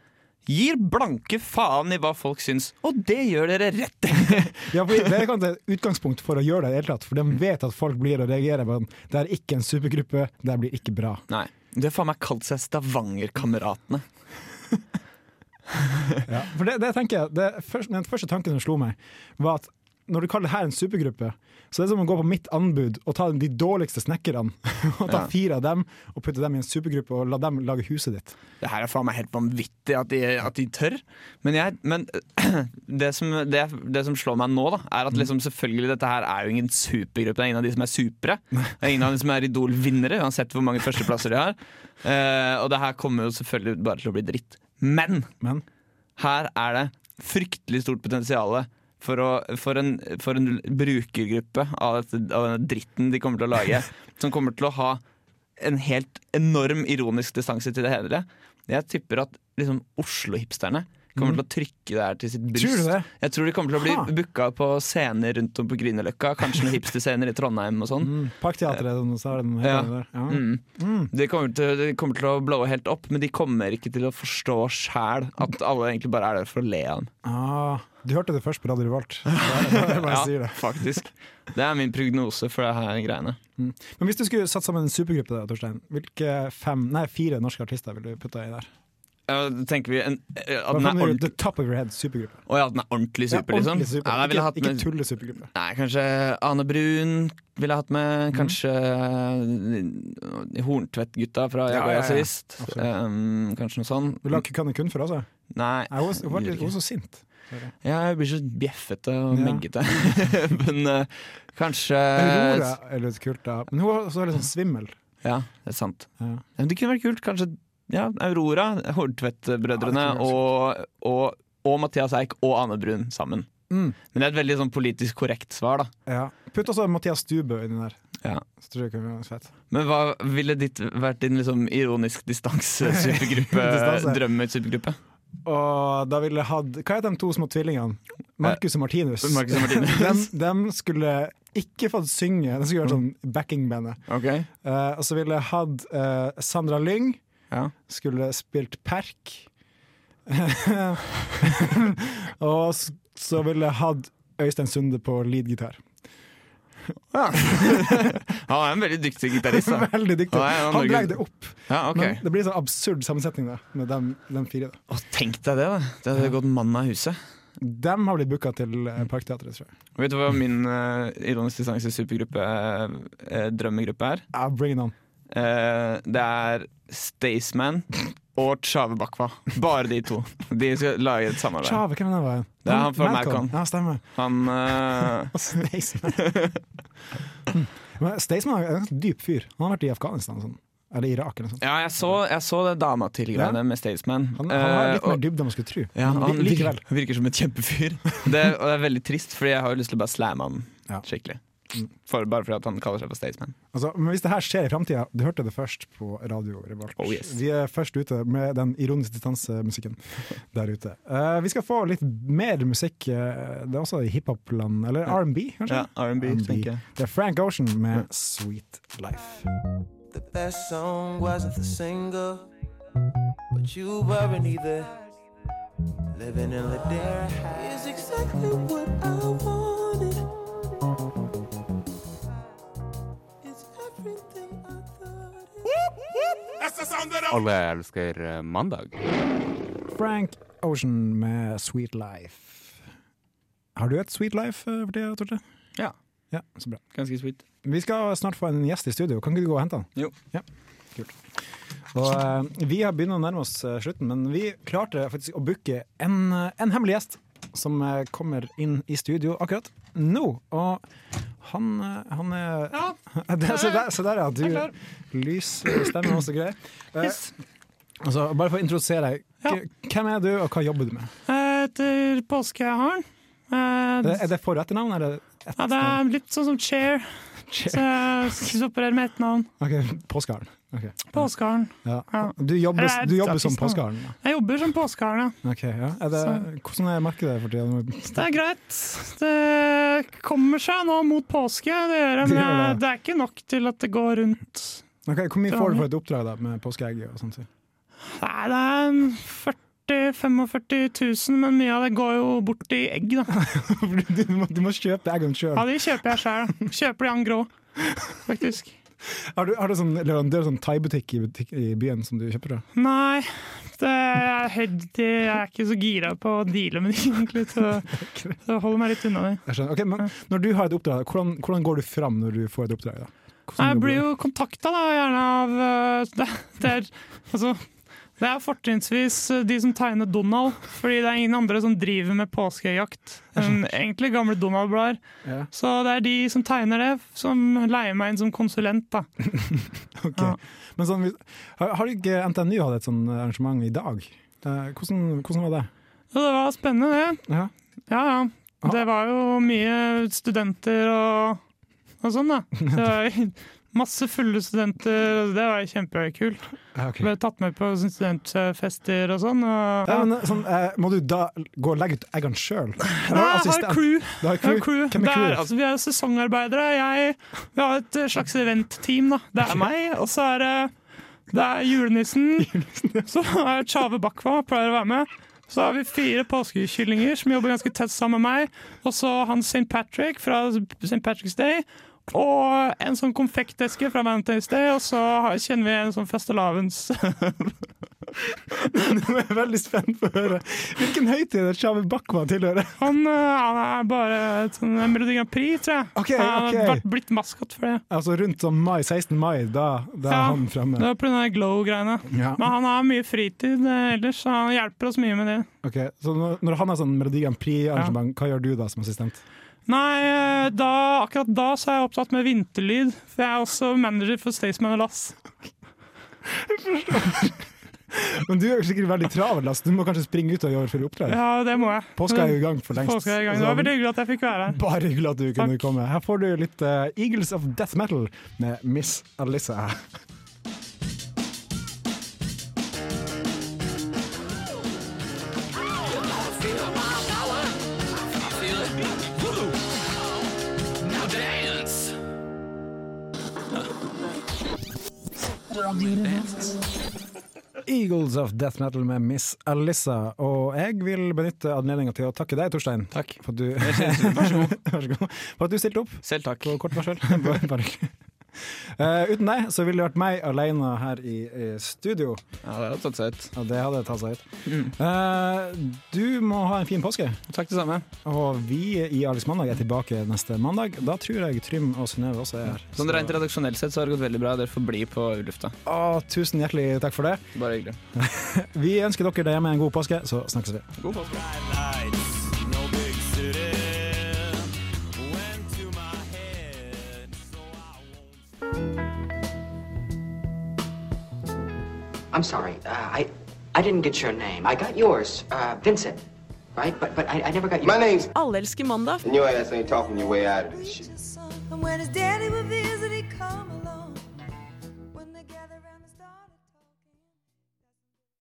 S3: Gir blanke faen i hva folk syns, og det gjør dere rett i! [LAUGHS]
S2: Ja, for Det er kanskje et utgangspunkt for å gjøre det i det hele tatt, for de vet at folk blir og reagerer på den. Det er ikke en supergruppe, det her blir ikke bra.
S3: Nei. De har faen meg kalt seg Stavangerkameratene.
S2: For det, det tenker jeg, det, først, Den første tanken som slo meg, var at når du kaller det her en supergruppe, så det er som å gå på mitt anbud og ta de dårligste snekkerne, [LAUGHS] og ta
S3: Ja.
S2: fire av dem og putte dem i en supergruppe og la dem lage huset ditt.
S3: Det her er faen meg helt vanvittig at de, at de tør. Men, jeg, men [CLEARS THROAT] det, som, det, det som slår meg nå, da, er at liksom selvfølgelig dette her er jo ingen supergruppe. Det er ingen av de som er supre. Det er ingen av de som er Idol-vinnere, uansett hvor mange førsteplasser de har. Eh, og det her kommer jo selvfølgelig bare til å bli dritt. Men,
S2: Men?
S3: her er det fryktelig stort potensial. For, å, for, en, for en brukergruppe av, dette, av denne dritten de kommer til å
S2: [LAUGHS]
S3: lage, som kommer til å ha en helt enorm ironisk distanse til det hele. Jeg tipper at liksom, Oslo-hipsterne kommer
S2: Mm.
S3: til å trykke det her til sitt bryst.
S2: Tror du det?
S3: Jeg tror de kommer til å
S2: Ha.
S3: bli booka på scener rundt om på Grünerløkka. Kanskje
S2: [LAUGHS]
S3: noen hipsterscener i Trondheim og sånn.
S2: Mm. Parkteatret, så er det den
S3: Ja.
S2: hele der. Ja.
S3: Mm.
S2: Mm.
S3: De, kommer til, de kommer til å blowe helt opp, men de kommer ikke til å forstå sjæl at alle egentlig bare er der for å le av dem.
S2: Ah, du hørte det først på Radio
S3: [LAUGHS]
S2: Revolt. Jeg bare sier det.
S3: faktisk. Det er min prognose for det her greiene.
S2: Men hvis du skulle satt sammen en supergruppe, da, Torstein, hvilke fem, nei, fire norske artister ville du putta i der?
S3: Ja, tenker vi en, eh, at,
S2: Hva
S3: den er
S2: finner du
S3: ordentlig,
S2: the top of your head supergruppe?
S3: Å ja, at den er ordentlig super,
S2: Ja,
S3: liksom?
S2: ordentlig super.
S3: Ja, da ville jeg hatt
S2: ikke
S3: med-
S2: ikke tullesupergruppe.
S3: Nei, kanskje Ane Brun ville jeg hatt
S2: Mhm.
S3: med. Kanskje eh, Horntvedt-gutta fra
S2: Ja,
S3: Jeg
S2: ja,
S3: var
S2: ja.
S3: jazzist.
S2: Absolutt.
S3: Em, kanskje noe sånn.
S2: Vil du ha Kukanne kun for, altså?
S3: Nei,
S2: Nei, Hun var- hun var litt- hun var så sint.
S3: jeg blir så bjeffete og
S2: Ja.
S3: meggete. [LAUGHS] Men eh, kanskje
S2: Aurora er litt kult, da. Men hun var også litt sånn svimmel.
S3: Ja, det er sant.
S2: Ja.
S3: Ja, Men det kunne vært kult. Kanskje ja, Aurora, Hordtvedt-brødrene
S2: Ja, det kunne vært
S3: og, og, og Mathias Eik og Ane Brun sammen.
S2: Mm.
S3: Men det er et veldig sånn politisk korrekt svar, da.
S2: Ja. Putt også Mathias Stubø inni der.
S3: Ja.
S2: Så tror jeg det kan være fett.
S3: Men hva ville ditt vært din liksom ironisk [LAUGHS] distanse-supergruppe?
S2: Distanse.
S3: Drømmesupergruppe?
S2: Og da ville jeg hatt Hva heter de to små tvillingene? Marcus og Martinus.
S3: Eh, Marcus og Martinus.
S2: de, de skulle ikke fått synge, de
S3: Mm.
S2: skulle vært sånn backingbandet.
S3: [LAUGHS] Ok,
S2: Eh, og så ville jeg hatt eh, Sandra Lyng.
S3: ja.
S2: Skulle spilt Perk. [LAUGHS] og s- så ville jeg hatt Øystein Sunde på leadgitar.
S3: [LAUGHS] Han er en veldig dyktig gitarist. [LAUGHS] da.
S2: [LAUGHS] Veldig dyktig.
S3: Nei, han
S2: Han
S3: Norge-
S2: drar det opp.
S3: Ja, ok.
S2: Men det blir en sånn absurd sammensetning da, med dem, dem fire. Da.
S3: Å, tenk deg det, da. Det hadde gått mann av huset.
S2: Dem har blitt booka til
S3: Mm.
S2: eh, Parkteatret, tror jeg.
S3: Vet du hva min eh, ironisk distanse-supergruppe-drømmegruppe er?
S2: Ja, Ah, bring it on.
S3: Eh, det er Staysman og Chave Bakwa. Bare de to. De skal lage et samarbeid.
S2: Tjave, hvem er det var igjen?
S3: Det er han fra Madcon.
S2: Ja, stemmer.
S3: Han eh,
S2: Og
S3: [LAUGHS]
S2: Staysman. Mm. Men Staysman er en ganske dyp fyr. Han har vært i Afghanistan og sånn. Eller Irak eller noe sånt.
S3: Ja, jeg så, jeg så det dama til greiene med Staysman.
S2: Han, han har litt
S3: Eh, og-
S2: mer dybde enn man skulle tro.
S3: ja,
S2: Men
S3: han
S2: li-
S3: virker,
S2: likevel.
S3: virker som et kjempefyr. Det, og det er veldig trist, Fordi jeg har jo lyst til å bare slamme han
S2: Ja. Mm.
S3: skikkelig. For, bare fordi at han kaller seg for Staysman.
S2: Altså, men hvis det her skjer i framtida, du hørte det først på Radio Revolt.
S3: Oh, yes.
S2: Vi er først ute med den ironisk
S3: [LAUGHS]
S2: distanse-musikken der ute. Eh, vi skal få litt mer musikk. eh, det er også i hiphop-land, eller R&B, kanskje?
S3: Ja, R&B, tenker jeg.
S2: Det er Frank Ocean med 'Sweet Life'.
S11: The best song wasn't the single, but you weren't either. Living in La Dare is exactly what I wanted. It's everything I thought.
S12: Alle elsker eh, mandag.
S2: Frank Ocean med 'Sweet Life'. Har du et Sweet Life eh, for tida, Torte?
S3: Ja.
S2: ja. Så bra.
S3: Ganske sweet.
S2: Vi skal snart få en gjest i studio. Kan ikke du gå og hente han?
S3: Jo.
S2: Ja, kult. Og, eh, vi har begynt å nærme oss eh, slutten, men vi klarte faktisk å booke en, eh, en hemmelig gjest som eh, kommer inn i studio akkurat nå. Og han, eh, han er [LAUGHS] der, Se der, se der, ja. Du lysstemme oss og greier. Eh, altså, bare for å introdusere deg. K- Hvem er du, og hva jobber du med?
S5: Etter påskeharen. eh,
S2: Er det for- og etternavn, eller?
S5: Ja, det er litt sånn som chair.
S2: Chair.
S5: Så jeg skal operere med ett navn.
S2: Ok, Påskeharen. Ok.
S5: Påskeharen.
S2: Ja.
S5: Ja.
S2: Du jobber,
S5: Eller er
S2: du jobber som
S5: artisten, da.
S2: påskeharen? da?
S5: Jeg jobber som påskeharen, ja.
S2: Ok, ja. er det, Hvordan er markedet for tida?
S5: Det er greit. Det kommer seg nå mot påske, det gjør det.
S2: Det
S5: Men
S2: gjør
S5: jeg-
S2: det.
S5: det er ikke nok til at det går rundt.
S2: Ok, hvor mye får du for et oppdrag da, med påskeegg og sånt?
S5: Nei, det er en 40 45 000, men mye av det går jo bort i egg,
S2: [LAUGHS]
S5: da.
S2: Du må, du må kjøpe eggene sjøl.
S5: Ja, de kjøper jeg sjøl. Kjøper de han grå, faktisk.
S2: Har du, har du sånn leverandør, sånn thaibutikk i, butikk- i byen som du kjøper fra?
S5: Nei, det er, helt- jeg er ikke så gira på å deale med det, egentlig.
S2: [LAUGHS]
S5: Så, så jeg holder meg litt unna det.
S2: Jeg skjønner. Ok, men når du har et oppdrag, hvordan, hvordan går du fram når du får et oppdrag? da? Hvordan
S5: Nei, jeg
S2: jobber
S5: blir
S2: du?
S5: jo kontakta da, gjerne av eh, det, det er, altså, det er fortrinnsvis eh, de som tegner Donald, fordi det er ingen andre som driver med påskejakt
S2: [LAUGHS]
S5: enn egentlig gamle Donald-blader.
S2: Ja.
S5: Så det er de som tegner det, som leier meg inn som konsulent. da.
S2: Ok. Men sånn, hvis- har, har ikke NTNU hatt et sånn arrangement i dag? Eh, hvordan, hvordan var det?
S5: Så det var spennende, det.
S2: Ja.
S5: ja.
S2: Ah.
S5: ja. Det var jo mye studenter og, og sånn, da. Det var [LAUGHS] masse fulle studenter, og det var kjempekult.
S2: Ja, ok.
S5: Ble tatt med på sånn studentfester og sånn. Og,
S2: Ja, men, sånn, eh, må du da gå og legge ut eggene sjøl?
S5: Nei, jeg har crew.
S2: Du har
S5: Jeg har
S2: crew.
S5: crew.
S2: Hvem er
S5: Det er,
S2: crewet?
S5: altså, vi er sesongarbeidere. Jeg, vi har et eh, slags eventteam. da. Det er meg, og så er det, det er
S2: [LAUGHS]
S5: julenissen. Så er Tjave Bakva pleier å være med. Så har vi fire påskekyllinger som jobber ganske tett sammen med meg. Og så han St. Patrick fra St. Patrick's Day. Og en sånn konfekteske fra Valentine's Day, og så har- kjenner vi en sånn fastelavns
S2: Nå er jeg veldig spent på å høre. Hvilken høytid er det Shawi Bakwa tilhører? [LAUGHS]
S5: Han, eh, han er bare et sånn Melodi Grand Prix, tror jeg.
S2: Ok,
S5: Han har
S2: ok.
S5: vært- blitt maskot for det.
S2: Altså rundt sånn mai, 16. mai, da, da er han
S5: Det
S2: fremme.
S5: var pga. glow-greiene.
S2: Ja.
S5: Men han har mye fritid eh, ellers, så han hjelper oss mye med det.
S2: Ok, Så når, når han har sånn Melodi Grand Prix-arrangement, hva gjør du da som assistent?
S5: Nei, eh, da, akkurat da så er jeg opptatt med vinterlyd, for jeg er også manager for Staysman og Lass.
S2: Men du er jo sikkert veldig travel, altså. du må kanskje springe ut og gjøre for oppdrag?
S5: Ja, det må jeg.
S2: Påska er jo i gang for lengst.
S5: Påska er i gang. Det var veldig hyggelig at jeg fikk være her.
S2: [LAUGHS] Bare hyggelig at du kunne komme. Her får du litt eh, Eagles of Death Metal med Miss Alissa. Eagles of Death Metal med Miss Alissa. Og jeg vil benytte anledninga til å takke deg, Torstein. Takk. For at du, [LAUGHS] vær så god. For at du stilte opp.
S3: Selv takk.
S2: På kort [LAUGHS] varsel. Bare- bare hyggelig. Eh, uten deg så ville det vært meg alene her i, i studio.
S3: Ja, det hadde tatt seg ut.
S2: Ja, det hadde tatt seg ut. Eh, du må ha en fin påske.
S3: Takk det samme.
S2: Og vi i Alex Mandag er tilbake neste mandag. Da tror jeg Trym og Synnøve også er her.
S3: Sånn Rent redaksjonelt sett så har det gått veldig bra. Dere får bli på Ulufta.
S2: Å, tusen hjertelig takk for det.
S3: Bare hyggelig.
S2: Vi ønsker dere der hjemme en god påske, så snakkes vi.
S3: God påske.
S13: I'm sorry. Uh, I I didn't get your name. I got yours, uh, Vincent, right? But but I, I never got your. My name's.
S14: Alle elsker mandag.
S13: your ass ain't talking your way out of this shit.
S14: And when his daddy would visit, he'd come along.